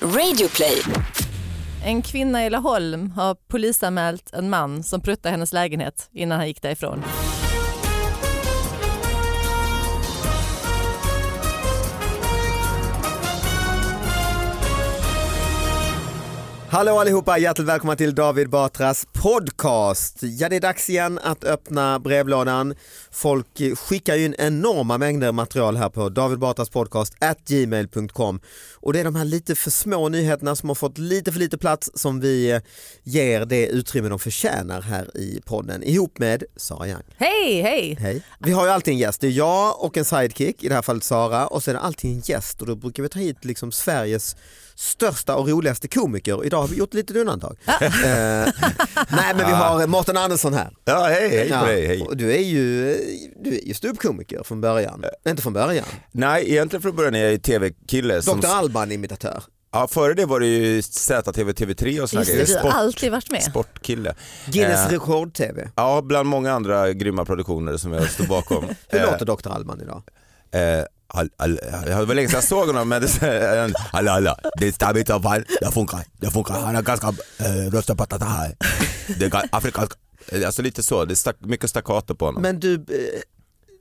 Radioplay. En kvinna i Laholm har polisanmält en man som pruttade hennes lägenhet innan han gick därifrån. Hallå allihopa, hjärtligt välkomna till David Batras podcast. Ja, det är dags igen att öppna brevlådan. Folk eh, skickar ju in enorma mängder material här på David Batras podcast at gmail.com. Och det är de här lite för små nyheterna som har fått lite för lite plats som vi eh, ger det utrymme de förtjänar här i podden ihop med Sara Young. Hej, hej! Hej. Vi har ju alltid en gäst, det är jag och en sidekick, i det här fallet Sara, och så är det alltid en gäst och då brukar vi ta hit liksom Sveriges största och roligaste komiker. Idag har vi gjort lite undantag. eh, nej men vi har Mårten Andersson här. Ja, hej, Ah. hej Ja, på dig, hej. och Du är ju, du är ju ståuppkomiker från början. Eh. Inte från början. Nej, egentligen från början är jag ju tv-kille. Som, Eh. Dr. Alban-imitatör. ja, före det var det ju ZTV, TV3 och såna Just grejer. det, du har Sport, alltid varit med. sportkille. Guinness Eh, rekord-tv. Ja, bland många andra grymma produktioner som jag står bakom. Hur Eh, låter Dr. Alban idag? Eh, all, all, jag var länge sedan jag såg honom men det är alla alla, det stämmer inte fan, det funkar, det funkar, han har ganska eh, röstad patata här. Det är ga- afrikansk, Eh, alltså lite så, det är stack, mycket staccato på honom. Men du,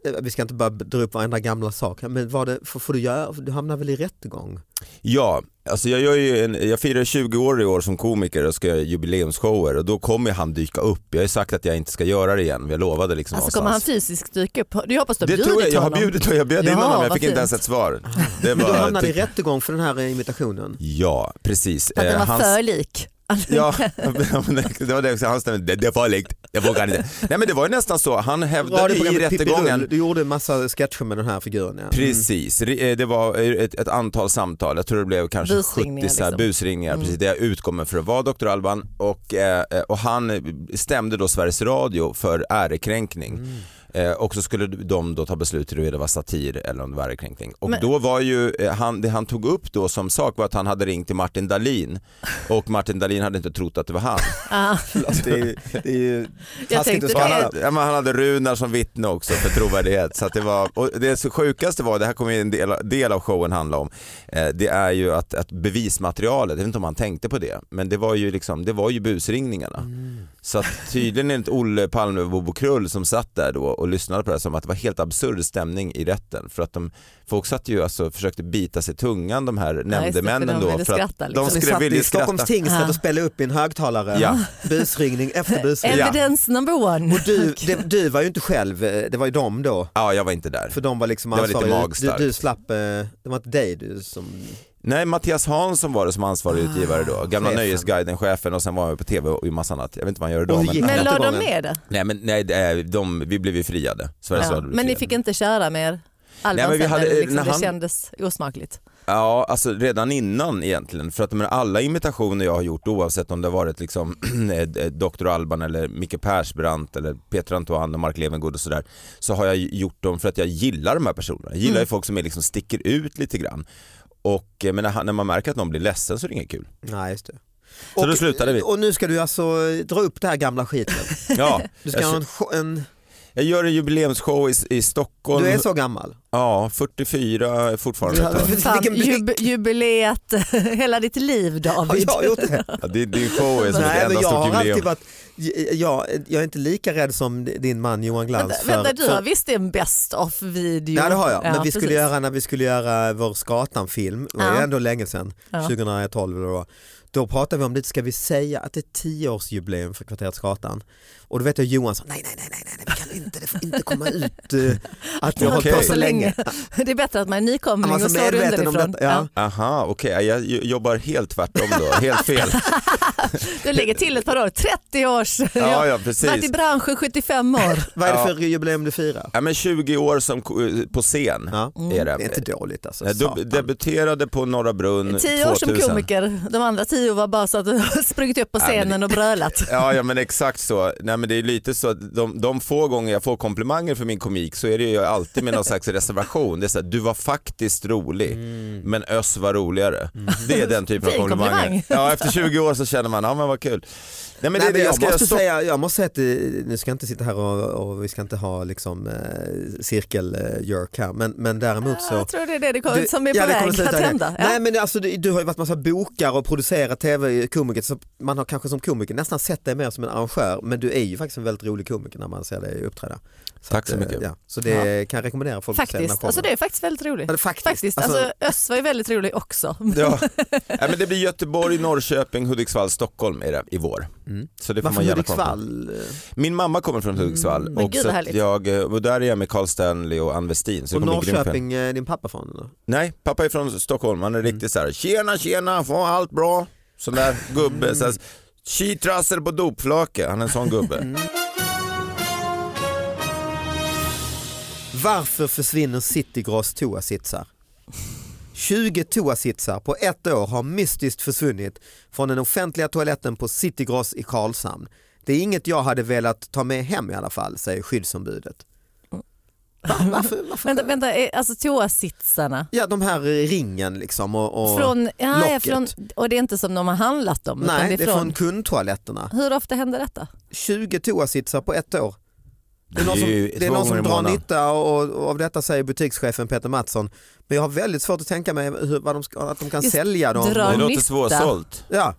eh, vi ska inte bara dra upp varenda gamla sak, här, men vad det, får, får du göra, du hamnar väl i rättegång? Ja, alltså jag, gör ju en, jag firar 20 år i år som komiker och ska göra jubileumsshower och då kommer han dyka upp. Jag har ju sagt att jag inte ska göra det igen, men jag lovade liksom Alltså kommer han någonstans. fysiskt dyka upp? Du hoppas du har det bjudit tror jag, jag har honom? bjudit och jag bjöd in Ja, honom, jag vad fick inte fint. ens ett svar. Det Men du var- hamnade i tyck- rättegång för den här eh, imitationen. Ja, precis. För att Eh, den var hans- för lik. Ja, men det var det också, han stämde, det, det är farligt, det funkar inte. Nej men det var ju nästan så, han hävdade i Radioprogrammet Pippi rättegången Rull, Du gjorde en massa sketcher med den här figuren. Ja. Mm. Precis, Re- eh, det var eh, ett, ett antal samtal, jag tror det blev kanske Busringningar 70 så här, liksom. busringningar, precis, där jag utkommer för att vara Dr. Alban och, eh, eh, och han eh, stämde då Sveriges Radio för ärekränkning. Mm. Eh, och så skulle de då ta beslut huruvida det var satir eller om det var ärekränkning. Och Men- då var ju, eh, han, det han tog upp då som sak var att han hade ringt till Martin Dahlin och Martin Dahlin hade inte trott att det var han. Ah, Alltså, det är, ju- det är ju Jag taskigt tänkte att Och han, spara. hade, ja, men han hade Runar som vittne också för trovärdighet. Så att det, var, och det så sjukaste var, det här kommer ju en del, del av showen handla om, eh, det är ju att, att bevismaterialet, jag vet inte om han tänkte på det, men det var ju, liksom, det var ju busringningarna. Mm. Så att tydligen enligt Olle Palme och Bobo Krull som satt där då och lyssnade på det här som att det var helt absurd stämning i rätten. För att de, folk satt ju alltså och försökte bita sig i tungan de här nämndemännen de då. ville för skratta, att liksom. de Ni skulle satt vilja i skratta. Stockholms tingsrätt Ja. och spelade upp i en högtalare. Ja. Busringning efter busringning. Ja. Evidence number one. Och du, det, du var ju inte själv, eh, det var ju dem då. Ja, jag var inte där. För de var liksom Det var lite ansvariga. magstarkt. Du, du slapp, eh, det var inte dig du som... Nej, Mattias Hansson var det som ansvarig utgivare då. Gamla Ah, Chefen. Nöjesguiden, chefen och sen var han ju på tv och i massa annat. Jag vet inte vad han gör Och idag. hur Men, gick det? Men la de Rättegången. ner det? nej, men nej, det är- de, vi blev ju friade. Sveriges Ja. Radio blev Men ni friade. fick inte köra med er? Alban Nej, men vi sen, hade- eller liksom, när Det han- kändes osmakligt. Ja, alltså redan innan egentligen. För att men, alla imitationer jag har gjort oavsett om det har varit liksom eh, Dr. Alban eller Micke Persbrandt eller Peter Antoine och Mark Levengood och sådär. Så har jag gjort dem för att jag gillar de här personerna. Jag gillar Mm. ju folk som är, liksom, sticker ut lite grann. Och eh, men när, han- när man märker att någon blir ledsen så är det inget kul. Nej just det. Så då slutade vi. Och nu ska du alltså eh, dra upp det här gamla skiten. Ja, Du, ska jag- ha en, sho- en, Jag gör en jubileumsshow i, i Stockholm. du är så gammal. Ja, 44 är fortfarande. Ja, men Fan, vilken blick. jub, jubileet, hela ditt liv Har David. jag gjort det? Ja, det, din show är som ett Nej, men enda jag stort har jubileum. alltid varit, jag, jag är inte lika rädd som din man Johan Glans. Vänta, för- vänta, du har för, visst en best of video? Nej det har jag, men vi skulle precis. göra, när vi skulle göra vår Skatan-film, det var Ja. ju ändå länge sedan, Ja. 2012 eller då, då pratade vi om lite, ska vi säga att det är tioårsjubileum för kvarteret Skatan? Och då vet jag Johan sa, nej nej nej, nej, nej nej, vi kan inte, det får inte komma ut eh, att vi har hållit på Okej. så länge. Det är bättre att man är Han nykomling var och så står medveten om underifrån. detta. Ja. Aha, okej. Jag jo- jobbar helt tvärtom då. Helt fel. Du lägger till ett par år, 30 års. Ja, Ja. ja, Varit i precis. branschen 75 år. Vad är det för jubileum du firar? Ja, men 20 år som, ko- på scen Ja. är Det är det. inte dåligt alltså. Jag deb- satan. debuterade på Norra Brunn 10 år som 2000. komiker, de andra 10 var bara så att du har sprungit upp på men det- scenen och brölat. Ja, ja men exakt så. Nej, men det är lite så att de, de få gånger jag får komplimanger för min komik så är det ju alltid med någon slags reservation. Det är så här, du var faktiskt rolig, Mm. men Öss var roligare. Det är den typen av Fin komplimang. komplimanger. Ja, efter 20 år så känner man, ja men vad kul. Nej men det Nej, är det, men jag, jag ska måste stoppa- säga, jag måste säga att eh, nu ska jag inte sitta här och, och vi ska inte ha liksom, eh, cirkeljörk här men, men däremot så Jag tror det är det, det kommer, Du- som är på ja, det kommer väg sluta att det. hända. Ja. Nej men alltså, du, du har ju varit massa bokare och producerat tv-komiker så man har kanske som komiker nästan sett dig mer som en arrangör men du är ju faktiskt en väldigt rolig komiker när man ser dig uppträda. Så Tack så eh, mycket. Ja, så det kan jag rekommendera folk att se den Faktiskt, här alltså det showen. är faktiskt väldigt roligt. Ja, det- faktiskt. Faktiskt, Alltså, alltså, Öss var ju väldigt rolig också. Ja. Nej, men det blir Göteborg, Norrköping, Hudiksvall, Stockholm är det, i vår. Mm. Så det får Varför man gärna kolla på. Hudiksvall? eh, Mm, Min mamma kommer från Hudiksvall Men och, gud, så vad att härligt. jag, eh, och där är jag med Carl Stanley och Ann Westin. Så Och det kommer bli grymt. Norrköping, eh, din pappa från? eller? Nej, pappa är från Stockholm. Han är Mm. riktigt så här, tjena tjena, får allt bra? Sån där gubbe. Så här, Tji trassel på dopflake, han är en sån Mm. gubbe. Varför försvinner Citygross toasitsar? 20 toasitsar på ett år har mystiskt försvunnit från den offentliga toaletten på Citygross i Karlshamn. Det är inget jag hade velat ta med hem i alla fall, säger skyddsombudet. Va, varför, varför? vänta, vänta, är- alltså toasitsarna. Ja, de här i ringen liksom och, och Från, ja, ja, locket. från, och det är inte som de har handlat om. utan Nej, det är från, kundtoaletterna. Hur ofta händer detta? 20 toasitsar på ett år. Det är någon Det som, är ju det är två någon gånger som i drar månaden. nytta och, och av detta säger butikschefen Peter Mattsson. Men jag har väldigt svårt att tänka mig hur, vad de ska, att de kan Just sälja dem. drar Det Ja, låter nytta. svårsålt. Ja,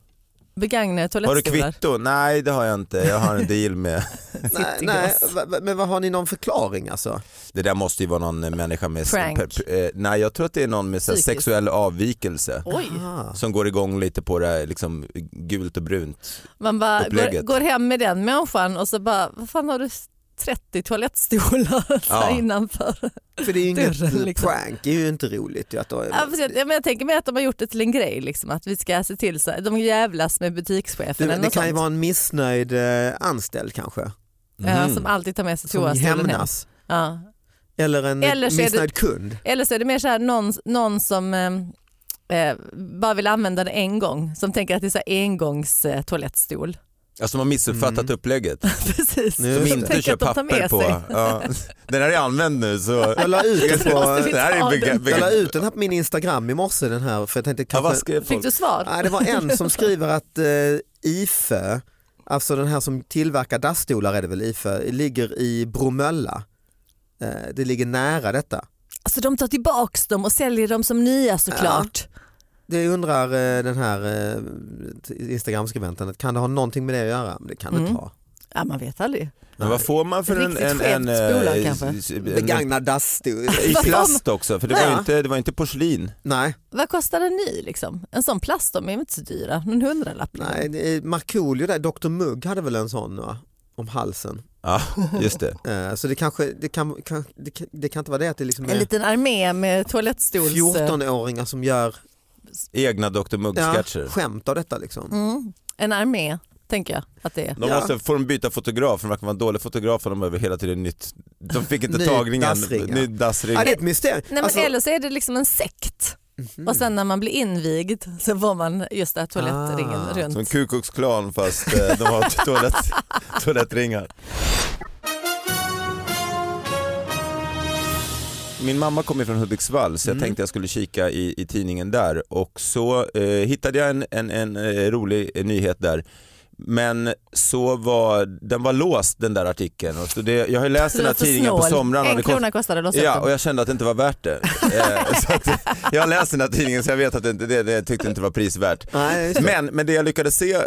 Begagnade Har du toalettstolar? kvitto? Nej det har jag inte, jag har en deal med... nej, nej, Citygross. va- va- men vad har ni någon förklaring alltså? Det där måste ju vara någon eh, människa med... Prank. pe- pe- eh, Nej jag tror att det är någon med så här, Psykisk. sexuell avvikelse. Oj, Ah. Som går igång lite på det här, liksom, gult och brunt. man bara går, Upplägget. går hem med den människan och så bara, vad fan har du 30 toalettstolar så här Ja. innanför? För det är ju inget Dörren, liksom. prank, det är ju inte roligt. ju Att, Ja, precis. Ja, men jag tänker mig att de har gjort det till en grej, liksom, att vi ska se till så de jävlas med det, butikschefen eller det något kan ju sånt. vara en missnöjd eh, anställd kanske, Ja, Mhm. som alltid tar med sig Mm. som toastolen hem. hämnas. Ja. Eller en Eller så är det- missnöjd kund. Eller så är det mer så här, någon, någon som eh, eh, bara vill använda den en gång, som tänker att det är så här engångs eh, toalettstol. Ja, som Alltså, har missuppfattat Mm. upplägget. Precis. Nu- Som Just inte Tänk kör att de tar med papper på. sig. Ja. Den här är använd nu så... Jag la ut den måste på, vi- Det här är bega- jag la bega- ut den här på min Instagram i morse den här för jag tänkte ja, kanske vad skrev Fick folk? du svar? Nej, det var en som skriver att eh, IFE, alltså den här som tillverkar dassstolar är det väl IFE, ligger i Bromölla. Eh, det ligger nära detta. Alltså de tar tillbaks dem och säljer dem som nya såklart. Det undrar eh, den här eh, Instagramskribenten, kan det ha någonting med det att göra? Men det kan det Mm. inte ha. Ja, man vet aldrig. Men vad får man för en... Riktigt en, en, skevt bolag, eh, kanske. s- en- Begagnad dassstol? I Vad får plast också, för det var ju Ja. inte, det var inte porslin. nej, Vad kostar en ny liksom? En sån plast, de är ju inte så dyra. Någon hundralapp. nej det är Markoolio där, Dr Mugg hade väl en sån va? om halsen. Ja, just det. Eh, så det kanske, det kan, kan, det, kan, det kan inte vara det att det liksom En är liten armé med toalettstols... 14-åringar som gör Egna Dr ja, Mugg-sketcher. skämt av detta liksom. Mm, en armé, tänker jag att det är. De Ja. måste, får de byta fotograf, för de verkar vara en dålig fotograf och de behöver hela tiden nytt. De fick inte Ny tagningen, dassring, ja. ny dassring. Ja, det är ett mysterium. Nej, men Alltså- Eller så är det liksom en sekt Mhm. och sen när man blir invigd så får man just det här toalettringen Ah, runt. Som Ku Klux Klan fast eh, de har toalett, toalettringar. Min mamma kommer från Hudiksvall så jag tänkte jag skulle kika i, i tidningen där och så eh, hittade jag en, en, en eh, rolig eh, nyhet där. Men så var, den var låst den där artikeln. Och så det, jag har ju läst den här Låter tidningen på snål. somrarna. och En det kom- krona kostade det att Ja, ja, och jag kände att det inte var värt det. Eh, så att, jag har läst den här tidningen så jag vet att det, inte- det, det jag tyckte inte var prisvärt. Nej, just det. Mm. Men, men det jag lyckades se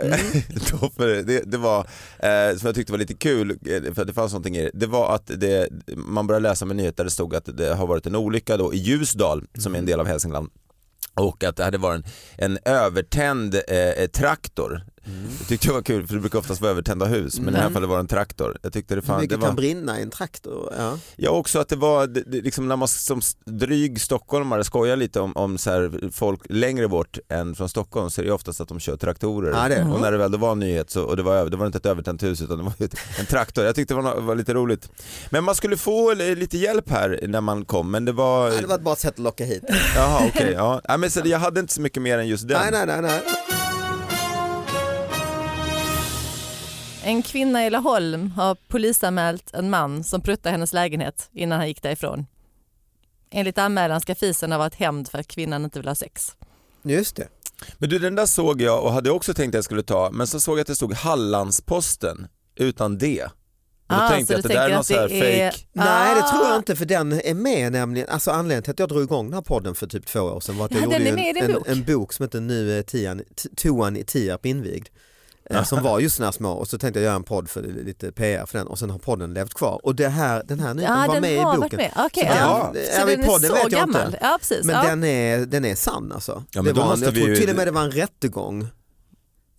då för det, det var, eh, som jag tyckte var lite kul, eh, för att det fanns någonting i det, det var att det, man började läsa med nyheter där det stod att det har varit en olycka då i Ljusdal som Mm. är en del av Hälsingland och att det hade varit en, en övertänd eh, eh, traktor. Det tyckte jag var kul för det brukar oftast vara övertända hus men i det här Mm. fallet var det en traktor. Jag tyckte det, Hur fan, det mycket var... kan brinna i en traktor? Ja. Ja också att det var, det, det, liksom när man som s- dryg stockholmare skojar lite om, om så här, folk längre bort än från Stockholm så är det ju oftast att de kör traktorer. Ja, det är det. Mm. Och när det väl då var en nyhet så och det var, över- det var inte ett övertänt hus utan det var ett- en traktor. Jag tyckte det var, no- var lite roligt. Men man skulle få li- lite hjälp här när man kom men det var... Ja, Det var bara ett sätt att locka hit. Jaha okej. ja. Nej, men så jag hade inte så mycket mer än just den. Nej, nej, nej, nej. En kvinna i Laholm har polisanmält en man som pruttade hennes lägenhet innan han gick därifrån. Enligt anmälan ska fisen ha varit hämnd för att kvinnan inte vill ha sex. Just det. Men du den där såg jag och hade också tänkt att jag skulle ta men så såg jag att det stod Hallandsposten utan det. Och då Ah, tänkte så jag du att det där tänker är någon att sån här det är- fake. Nej det tror Ah. jag inte för den är med nämligen, alltså anledningen till att jag drog igång den här podden för typ två år sedan var att jag Ja, gjorde den är ju med i en, din en, bok. en bok som heter Nu är tian, t- toan i Tierp invigd. eh, Som var just sådana små och så tänkte jag göra en podd för lite PR för den och sen har podden levt kvar. Och det här, den här nyheten Ja, var den med i har boken. varit med. Okej, Så ja. den- Så ja, i den podden är så vet jag inte. gammal. Ja, precis. Men ja. den, är, den är sann alltså. Ja, men det då var en, måste jag vi tror ju- till och med det var en rättegång.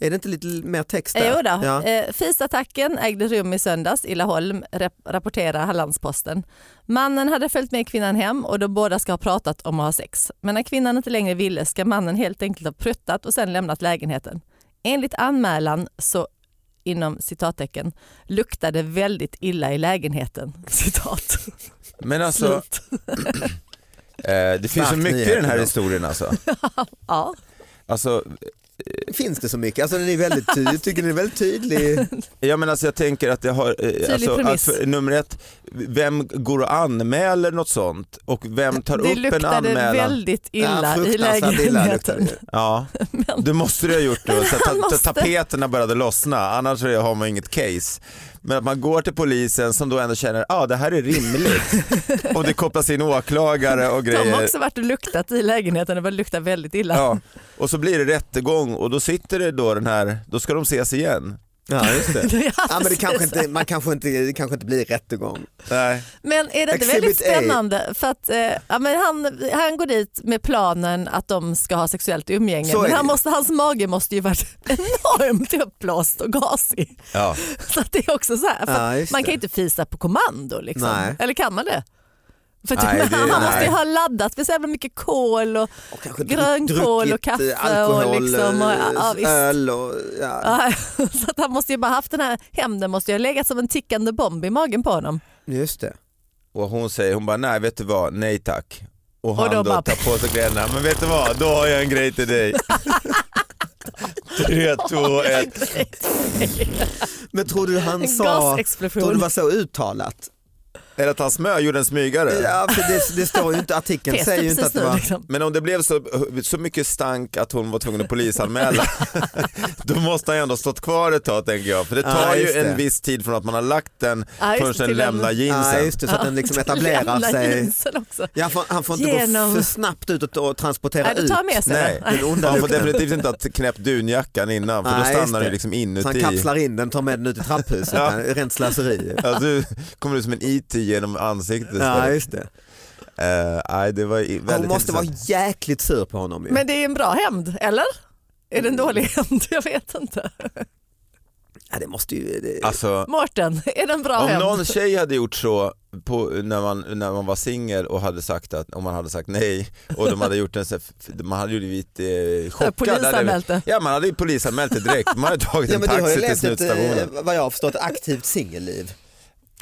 Är det inte lite mer text där? Eh, Jo då. Ja. Eh, Fisattacken ägde rum i söndags i Laholm, rep- rapporterar Hallandsposten. Mannen hade följt med kvinnan hem och de båda ska ha pratat om att ha sex. Men när kvinnan inte längre ville ska mannen helt enkelt ha pruttat och sen lämnat lägenheten. Enligt anmälan så inom citattecken luktade väldigt illa i lägenheten. Citat. Men alltså, eh, Slut. det finns så Stark mycket i nyhet den här idag. historien alltså. Ja. alltså Finns det så mycket? Alltså den är väldigt tydlig, jag tycker den är väldigt tydlig. Ja men alltså jag tänker att det har, eh, alltså, att premiss. för, nummer ett, vem går och anmäler något sånt och vem tar Det upp en luktade anmälan? väldigt illa i fruktansvärt illa liksom. luktar det lägenheten. ju. Ja, det måste du ha gjort då. Så att ta, han måste- ta, tapeterna började lossna, annars är- har man inget case. Men att man går till polisen som då ändå känner, ja ah, det här är rimligt. och det kopplas in åklagare och De har grejer. också varit och luktat i lägenheten och det luktar väldigt illa. Ja. Och så blir det rättegång och då sitter det då den här, då ska de ses igen. Ja, just det. Ja, Ja, men det precis. kanske inte, man kanske inte, det kanske inte blir rättegång. Nej. Men är det inte Exhibit väldigt A. spännande? För att, eh, ja, men han, han går dit med planen att de ska ha sexuellt umgänge Så är men det han ju. måste, hans mage måste ju varit enormt uppblåst och gasig. Ja. Så att det är också så här, för Ja, just att man det. kan ju inte fisa på kommando. Liksom. Nej. Eller kan man det? För att, Nej, det- han måste nej. ju ha laddat med så jävla mycket kol och Och kanske grönkål och druckit, kaffe eh, alkohol, och, liksom, och ja, ja, eh, visst. öl och ja, Ja, så att han måste ju bara haft den här hämnden måste ju ha legat som en tickande bomb i magen på honom. just det. Och hon säger, hon bara nej vet du vad, nej tack. Och han då då, bara- tar på sig kläderna, men vet du vad, då har jag en grej till dig. Tre, två, ett. Men tror du han En sa, tror du gasexplosion. var så uttalat? Eller att han smög, gjorde en smygare. Ja, för det, det står ju inte, artikeln Fester säger ju inte precis att det nu, var liksom. Men om det blev så, så mycket stank att hon var tvungen att polisanmäla, då måste han ju ändå ha stått kvar ett tag tänker jag. För det tar Ja, ju just det. en viss tid från att man har lagt den Ja, just förrän det, den till den- lämnar jeansen. Ja, just det, så att den liksom etablerar Lämna sig. jeansen också. Ja, han får- han får inte Genom- gå för snabbt ut och, och transportera Nej, du tar ut. med sig Nej, den. Den onda Man får lukten. definitivt inte ha knäppt dunjackan innan för då Nej, just stannar den ju det. liksom Så han inuti. kapslar in den, tar med den ut i trapphuset. Ja. Rent slöseri. Alltså, du kommer ut som en IT genom ansiktet. Ja, just det. Eh, nej, det var i- väldigt Hon måste vara intressant. jäkligt sur på honom ju. Men det är en bra hämnd, eller? Är det en dålig hämnd? Jag vet inte. Ja, det måste ju... Det... Alltså, Mårten, är det en bra om hämnd? någon tjej hade gjort så på, när, man, när man var singel och hade sagt att, om man hade sagt nej och de hade gjort en så här- f- man hade ju blivit eh, chockad. polisanmält det. Ja man hade ju polisanmält det direkt, man hade tagit Ja, en men du har ju taxi till levt ett, eh, slutstationen. vad jag har förstått, aktivt singelliv.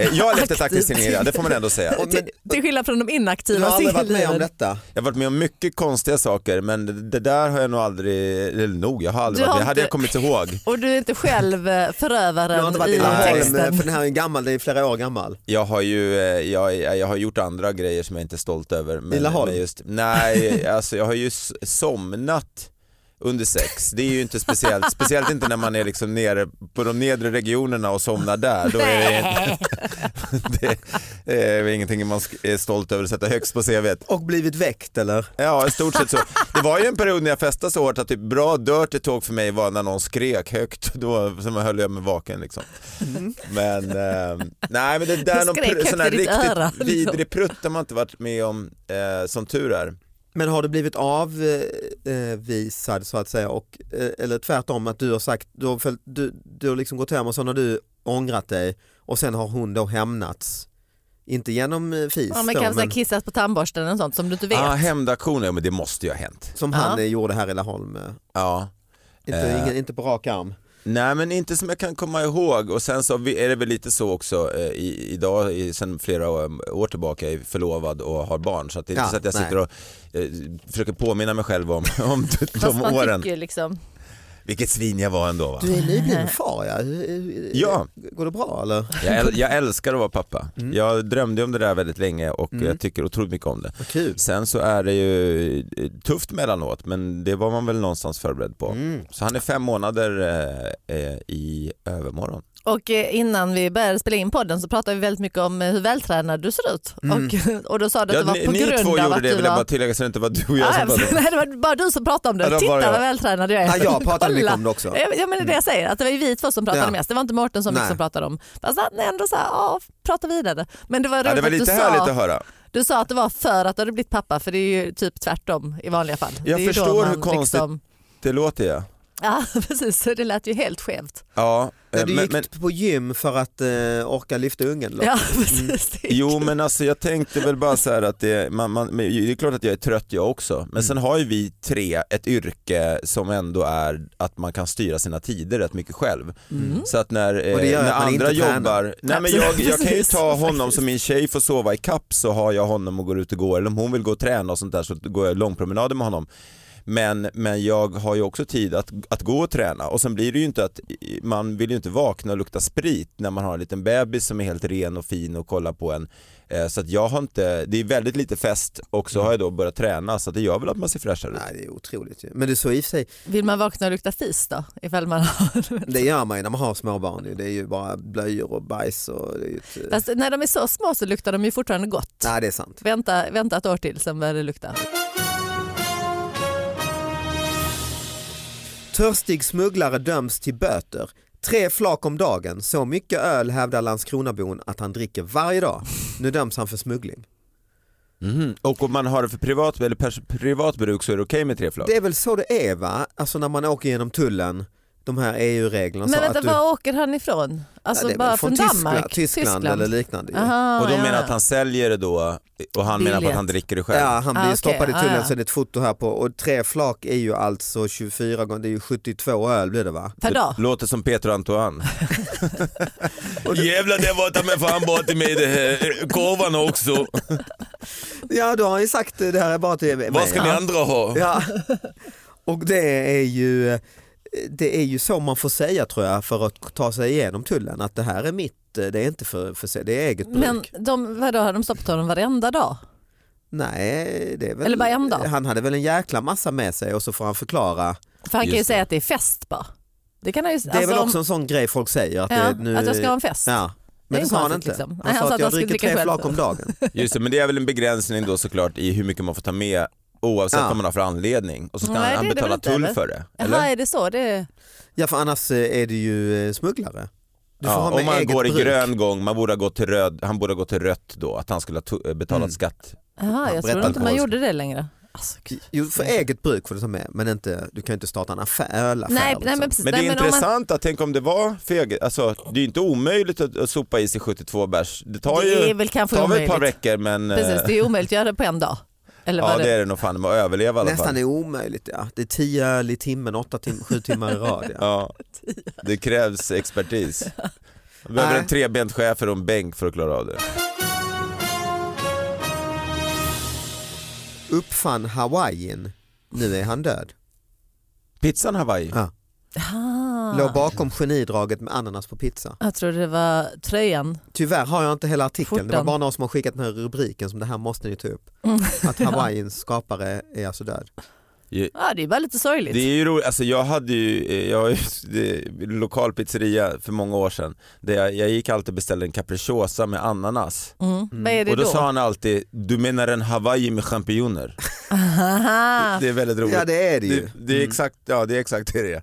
Eh, Jag har levt aktivt. ett aktivt singelliv, ja, det får man ändå säga. Och- till, till skillnad från de Du har inaktiva aldrig varit med om singelliven. detta? Jag har varit med om mycket konstiga saker men det- det där har jag nog aldrig, eller nog, jag har aldrig Du varit har det, hade jag inte- kommit ihåg. Och du är inte själv eh, Du har inte förövaren varit i i Laholm, eh, texten. för den här är gammal, det är flera år gammal. Jag har ju eh, jag, jag har gjort andra grejer som jag inte är stolt över. Men, I Laholm? men just, nej, alltså jag har ju s- somnat under sex. Det är ju inte speciellt, speciellt inte när man är liksom nere på de nedre regionerna och somnar där. Då är det, Nej. inte- det är väl ingenting man sk- är stolt över att sätta högst på CVt. Och blivit väckt eller? Ja, i stort sett så. Det var ju en period när jag festade så hårt att typ bra dirty talk för mig var när någon skrek högt. Då som höll jag mig vaken liksom. Men, eh, nej men det där är någon Mm. Skrek pr- högt sån här i ditt riktigt öra, liksom. vidrig prutt har man inte varit med om eh, som tur är. Men har du blivit avvisad så att säga, och, eh, eller tvärtom att du har sagt, du har, följt, du, du har liksom gått hem och sen har du ångrat dig och sen har hon då hämnats, inte genom eh, fis Ja, men då, kanske men kissat på tandborsten eller sånt som du inte vet. Ah, hämndaktioner, ja, men det måste ju ha hänt. som han eh, gjorde här i Laholm. eh. Ja. Inte, Eh. ingen, inte på rak arm. Nej men inte som jag kan komma ihåg och sen så vi- är det väl lite så också eh, i, idag i, sen flera um, år, år tillbaka är jag förlovad och har barn så att det är inte Ja, så att jag nej. sitter och eh, försöker påminna mig själv om, om de Fast man åren. tycker ju liksom, Vilket svin jag var ändå va? Du är nybliven far ja. Hur- Ja. Går det bra eller? Jag, äl- jag älskar att vara pappa. Mm. Jag drömde om det där väldigt länge och jag tycker otroligt mycket om det. Vad kul. Sen så är det ju eh, tufft mellanåt men det var man väl någonstans förberedd Mm. på. Så han är fem månader eh, eh, i övermorgon. Och eh, innan vi började spela in podden så pratade vi väldigt mycket om eh, hur vältränad du ser ut. Och, och då sa du att Ja, det var ni, på ni grund två av gjorde att det du vill jag bara var... Ah, tillägga så det inte var du och jag Ja, som pratade om det. nej, det var bara du som pratade om det. Ja, det var bara Titta jag. vad vältränad jag är. Ja, jag pratade mycket Kolla. om det också. Ja, men- ja, men det är det jag säger, att det var ju vi två som pratade Ja. mest. Det var inte Mårten som Nej. liksom pratade om. Fast han ändå så här, ja, prata vidare. Men det var roligt Ja, det var att du lite sa... härligt att höra. Du sa att det var för att du hade blivit pappa för det är ju typ tvärtom i vanliga fall. Jag det är ju då förstår man liksom- hur konstigt- Det låter jag. Ja precis, så det lät ju helt skevt. Ja, eh, När du men, gick men, på gym för att eh, orka lyfta ungen? eller? Ja, precis. Det- Mm. jo men alltså jag tänkte väl bara så här att det, man, man, men det är klart att jag är trött jag också, Mm. men sen har ju vi tre ett yrke som ändå är att man kan styra sina tider rätt mycket själv. Mm. Så att när, eh, Och det gör när att man andra inte tränar. jobbar, nej men Absolut, jag, jag kan ju precis, ta honom faktiskt. som min tjej får sova i kapp så har jag honom och går ut och går, eller om hon vill gå och träna och sånt där så går jag långpromenader med honom. Men, men jag har ju också tid att, att gå och träna och sen blir det ju inte att man vill ju inte vakna och lukta sprit när man har en liten bebis som är helt ren och fin och kollar på en. Eh, Så att jag har inte, det är väldigt lite fest och Mm. så har jag då börjat träna så att det gör väl att man ser fräschare ut. Nej, det är otroligt ju. Men det är så i och för sig, Vill man vakna och lukta fis då? Ifall man har... det gör man ju när man har små barn. ju. Det är ju bara blöjor och bajs. Och det är ju ett, Fast när de är så små så luktar de ju fortfarande gott. nej, det är sant. Vänta, vänta ett år till sen börjar det lukta. Törstig smugglare döms till böter. Tre flak om dagen. Så mycket öl hävdar Landskronabon att han dricker varje dag. Nu döms han för smuggling. Och om man har det för privat, eller pers- privat bruk så är det okej med tre flak. Det är väl så det är va? Alltså när man åker genom tullen, de här EU-reglerna. så Men vänta, att du- var åker han ifrån? Ja, Alltså det är väl bara från, från Danmark? Tyskland, Tyskland, eller liknande. ju. Aha, Och de ja, menar ja. att han säljer det då och han menar på att Billigt. han dricker det själv. Ja, han blir Ah, okej. stoppad i tullen Ah, ja. så är det ett foto här på och tre flak är ju alltså 24 gånger, det är ju 72 öl blir det va? Per dag? Låter som Peter Antoine. Jävlar det var ta mig fan bort i mig det här korvan också. Ja då har han ju sagt det här är bara till mig. andra ha? Ja. Och det är ju det är ju så man får säga tror jag för att ta sig igenom tullen att det här är mitt, det är inte för, för det är eget bruk. Men de, vadå, har de stoppat honom varenda dag? Nej, det är väl, Eller bara en dag? han hade väl en jäkla massa med sig och så får han förklara. För han kan ju Just det. säga att det är fest bara. Det kan han ju Det är alltså, väl om- också en sån grej folk säger att, ja, det, nu, att jag ska ha en fest. Ja. Det Men är det, sa han konstigt, inte. liksom. Han, sa att, jag skulle dricker dricka tre själv. flak om dagen. Just det, men det är väl en begränsning då såklart i hur mycket man får ta med oavsett Ja. vad man har för anledning. Och så ska Nej, han- det är han det väl betala inte, tull eller? för det. Jaha, Eller? är det så? Det är... Ja för annars eh, är du ju eh, smugglare. Du får ha Ja, med om man eget går i bruk. grön gång, man borde ha gått till röd, han borde ha gått till rött då, att han skulle ha to- eh, betalat Mm. skatt. Jaha, jag trodde berätta inte man alkoholiska. gjorde det längre. Alltså, gud. Jo, för eget bruk får du ta med men inte, du kan ju inte starta en affär, ölaffär. nej, nej, liksom. men precis. alltså. Men det är nej, men om man, intressant att tänk om det var för eget, alltså det är ju inte omöjligt att, att sopa i sig 72 bärs. Det tar ju det är väl kanske tar väl ett omöjligt. par veckor men eh, Precis, det är omöjligt att göra det på en dag. Eller ja vad det är det nog fan med att överleva i alla Nästan fall. är omöjligt ja. Det är tio öl i timmen, åtta tim sju timmar i rad. Ja. Ja, det krävs expertis. Jag behöver Nej. en trebent schäfer och en bänk för att klara av det. Uppfann hawaiiin, nu är han död. Pizzan Hawaii. Ja. Låg bakom genidraget med ananas på pizza. Jag trodde det var tröjan. Tyvärr har jag inte hela artikeln, det var Skjortan. bara någon som har skickat den här rubriken som det här måste ni ta upp. Att hawaiiins skapare är alltså död. Ja, det är bara lite sorgligt. Det är ju roligt, alltså jag hade ju, eh, jag har ju det, lokal pizzeria för många år sedan där jag, jag gick alltid och beställde en capricciosa med ananas Mm. Vad är det och då, då? sa han alltid du menar en hawaii med champinjoner. Aha. Det är väldigt roligt. Ja det är det ju. Mm. det, det är exakt, ja det är exakt det det är.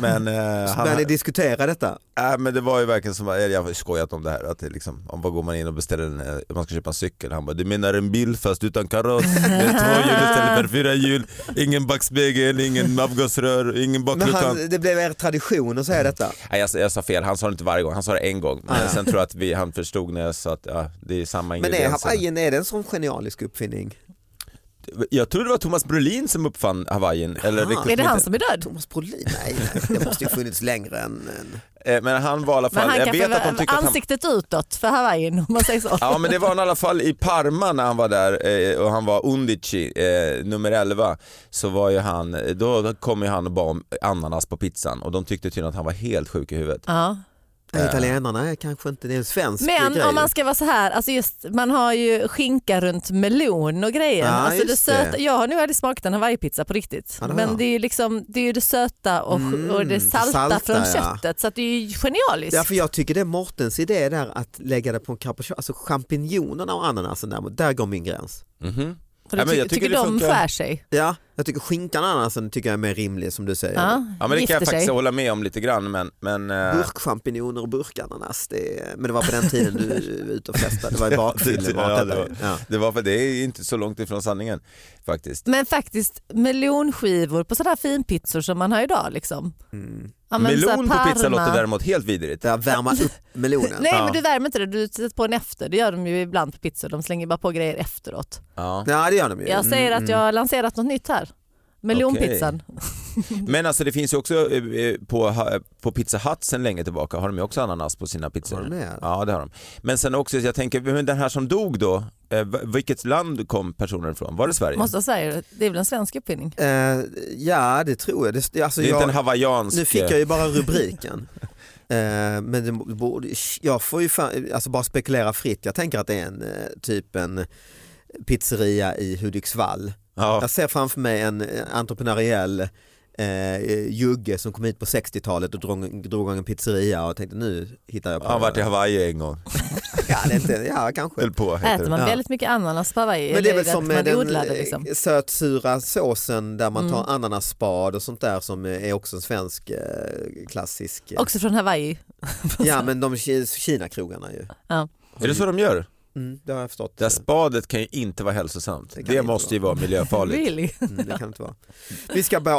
Men, eh, han, Börjar ni diskutera detta? äh, men det var ju verkligen som, eller jag har skojat om det här, att det liksom, om vad går man in och beställer en, eh, man ska köpa en cykel, han bara du menar en bil fast utan kaross, med två hjul istället för fyra hjul, ingen backspegel, ingen avgasrör, ingen Men bakluta. han, det blev er tradition att Mm. säga detta. Nej, jag, jag sa fel, han sa det inte varje gång, han sa det en gång. Men Ah, ja. sen tror jag att vi, han förstod när jag sa att ja, det är samma Men är ingredienser. hawaiiin är det en sån genialisk uppfinning? Jag trodde det var Thomas Brolin som uppfann hawaiiin. Eller Jaha. Är det han Typ inte- som är död? Thomas Brolin, nej, nej det måste ju funnits längre än... än. Eh, Men han var i alla Men fall, han jag kan vet att förvä- de tyckte att han ansiktet utåt för hawaiiin om man säger så. Ja men det var han i alla fall i Parma när han var där eh, och han var Undici, eh, nummer 11, så var ju han, då kom ju han och bad om ananas på pizzan och de tyckte tydligen att han var helt sjuk i huvudet. Ja. Nej, Italienarna är kanske inte, det är en svensk Men grej. om man ska vara så här, alltså just, man har ju skinka runt melon och grejer. Ja, alltså det just söta, det. Jag har nu aldrig smakat en hawaiipizza på riktigt. Ja, det har men jag. det är ju liksom, det, är ju det söta och, Mm, och det det salta, salta, från ja. köttet. Så att det är ju genialiskt. Därför jag tycker det är Mortens idé där att lägga det på en carpaccio, alltså champinjonerna och ananasen däremot, där går min gräns. Mhm. För Ja, du men ty- jag tycker tycker det de funkar. skär sig. Ja, jag tycker skinkan och ananasen tycker jag är mer rimlig som du säger. Ja, Ja men det kan gifter jag faktiskt sig. hålla med om lite grann men, men eh, Burkchampinjoner och burkananas, det är, men det var på den tiden du var ute och festade, det var i bakfyllen. Ja, Ja, det var- ja. det var för det är inte så långt ifrån sanningen faktiskt. Men faktiskt melonskivor på sådana här finpizzor som man har idag. Liksom. Ja, men så här Mm. Melon på pizza Parma. låter däremot helt vidrigt. Där värma upp melonen. Nej Ja. men du värmer inte det, du sätter på en efter. Det gör de ju ibland på pizzor, de slänger bara på grejer efteråt. Ja. Ja det gör de ju. Mm, Jag säger att jag har lanserat något nytt här. Melonpizzan. Mm. Men alltså det finns ju också eh, eh, på, ha- på Pizza Hut sen länge tillbaka har de ju också ananas på sina pizzor. Har de det? Ja det har de. Men sen också, jag tänker, men den här som dog då, eh, v- vilket land kom personen ifrån? Var det Sverige? Måste jag säga, det är väl en svensk uppfinning? Eh, ja det tror jag. Det, alltså, det är inte en jag hawaiiansk... eh, nu fick jag ju bara rubriken. Eh, men det borde, jag får ju fan, alltså bara spekulera fritt. Jag tänker att det är en eh, typ en pizzeria i Hudiksvall. Ja. Jag ser framför mig en eh, entreprenöriell eh, jugge som kom hit på 60-talet och drog, drog igång en pizzeria och tänkte nu hittar jag på Han har det. varit i Hawaii en gång, ja, det är inte, ja kanske. höll på heter Äter det. man Ja. väldigt mycket ananas på Hawaii? Men det är eller väl som att med man den odlar det liksom? Mm. eh, sötsura såsen där man tar ananasspad och sånt där som eh, är också en svensk eh, klassisk. eh, Också från Hawaii. Ja men de ki- Kina-krogarna ju. Alltså. Ja. Är det så de gör? Mm, det har jag förstått. Det här spadet kan ju inte vara hälsosamt. Det, Det kan inte måste ju vara miljöfarligt. Really? Mm, det kan inte vara. Vi ska börja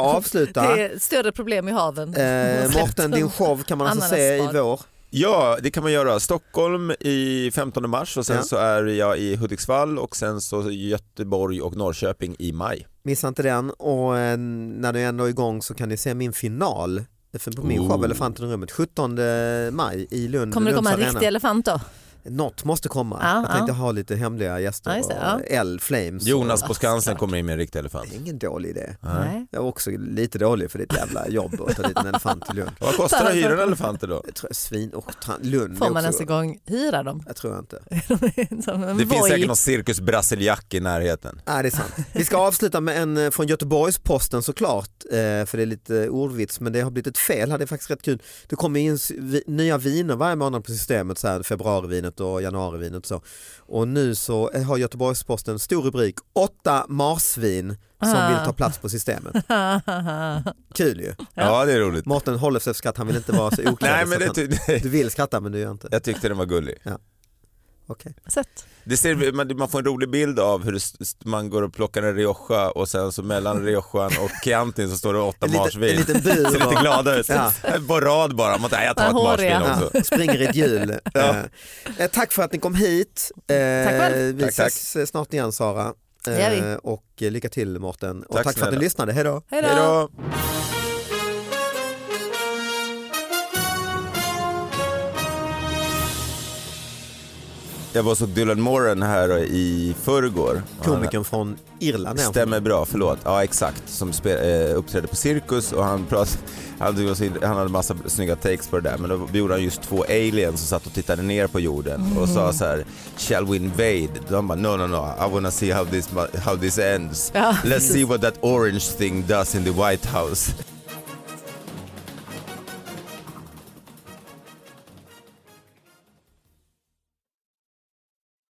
avsluta. Det är större problem i haven. Eh, Morten, din show kan man alltså se i Ananasspad. vår. Ja, det kan man göra. Stockholm i 15 mars och sen Ja. så är jag i Hudiksvall och sen så Göteborg och Norrköping i maj. Missa inte den och eh, när du ändå är igång så kan ni se min final för på min Ooh. show Elefanten i rummet 17 maj i Lund. Kommer det Lunds komma en arena. riktig elefant då? Något måste komma. Ja, jag tänkte ja. ha lite hemliga gäster. Ja, just det, ja. och L, Flames. Jonas och- på Skansen såklart. kommer in med en riktig elefant. Det är ingen dålig idé. Nej. Jag är också lite dålig för ditt jävla jobb att ta dit en elefant till Lund. Vad kostar det att hyra en elefant då? Jag tror jag är svin och tran- Lund Får är man också- ens en gång hyra dem? Jag tror jag inte. som en Det finns voj. säkert någon cirkus brasiliak i närheten. Nej, det är sant. Vi ska avsluta med en eh, från Göteborgs-Posten såklart, eh, för det är lite ordvits, men det har blivit ett fel här, det är faktiskt rätt kul. Det kommer in s- vi- nya viner varje månad på systemet, så här, februarivinet och januarivinet och så. Och nu så eh, har Göteborgs-Posten en stor rubrik, åtta marsvin som Ah. vill ta plats på systemet. Kul ju. Ja, det är roligt. Mårten håller sig för skratt, han vill inte vara så oklädd. Nej, så men att det han, ty- du vill skratta men du gör inte. jag tyckte den var gullig. Okej. Sett. Det ser, man, man får en rolig bild av hur det st- man går och plockar en Rioja och sen så mellan Riojan och Chiantin så står det åtta En liten- marsvin. en liten bur Ser lite och- glada ut. Ja. En På rad bara. Man tar, "Nej, jag tar ett Håriga. marsvin också. Ja, Alltså, springer i ett hjul. Ja. Eh, tack för att ni kom hit. Eh, själv. vi Tack, tack. ses eh, snart igen Sara. Det gör vi. Eh, och eh, lycka till Mårten. Och Tack tack för att ni snälla. lyssnade. Hej då. Hej Hej då! då. Jag var så Dylan Moran här i förrgår. Komikern från Irland. är han. Stämmer bra, förlåt. Ja exakt, som spe, eh, uppträdde på Cirkus och han, prat, han, tyckte det var så in- han hade massa snygga takes på det där men då gjorde han just två aliens som satt och tittade ner på jorden och sa så här “Shall we invade?” De bara “No, no, no, I wanna see how this, ma- how this ends. Ja. Let's see what that orange thing does in the White House.”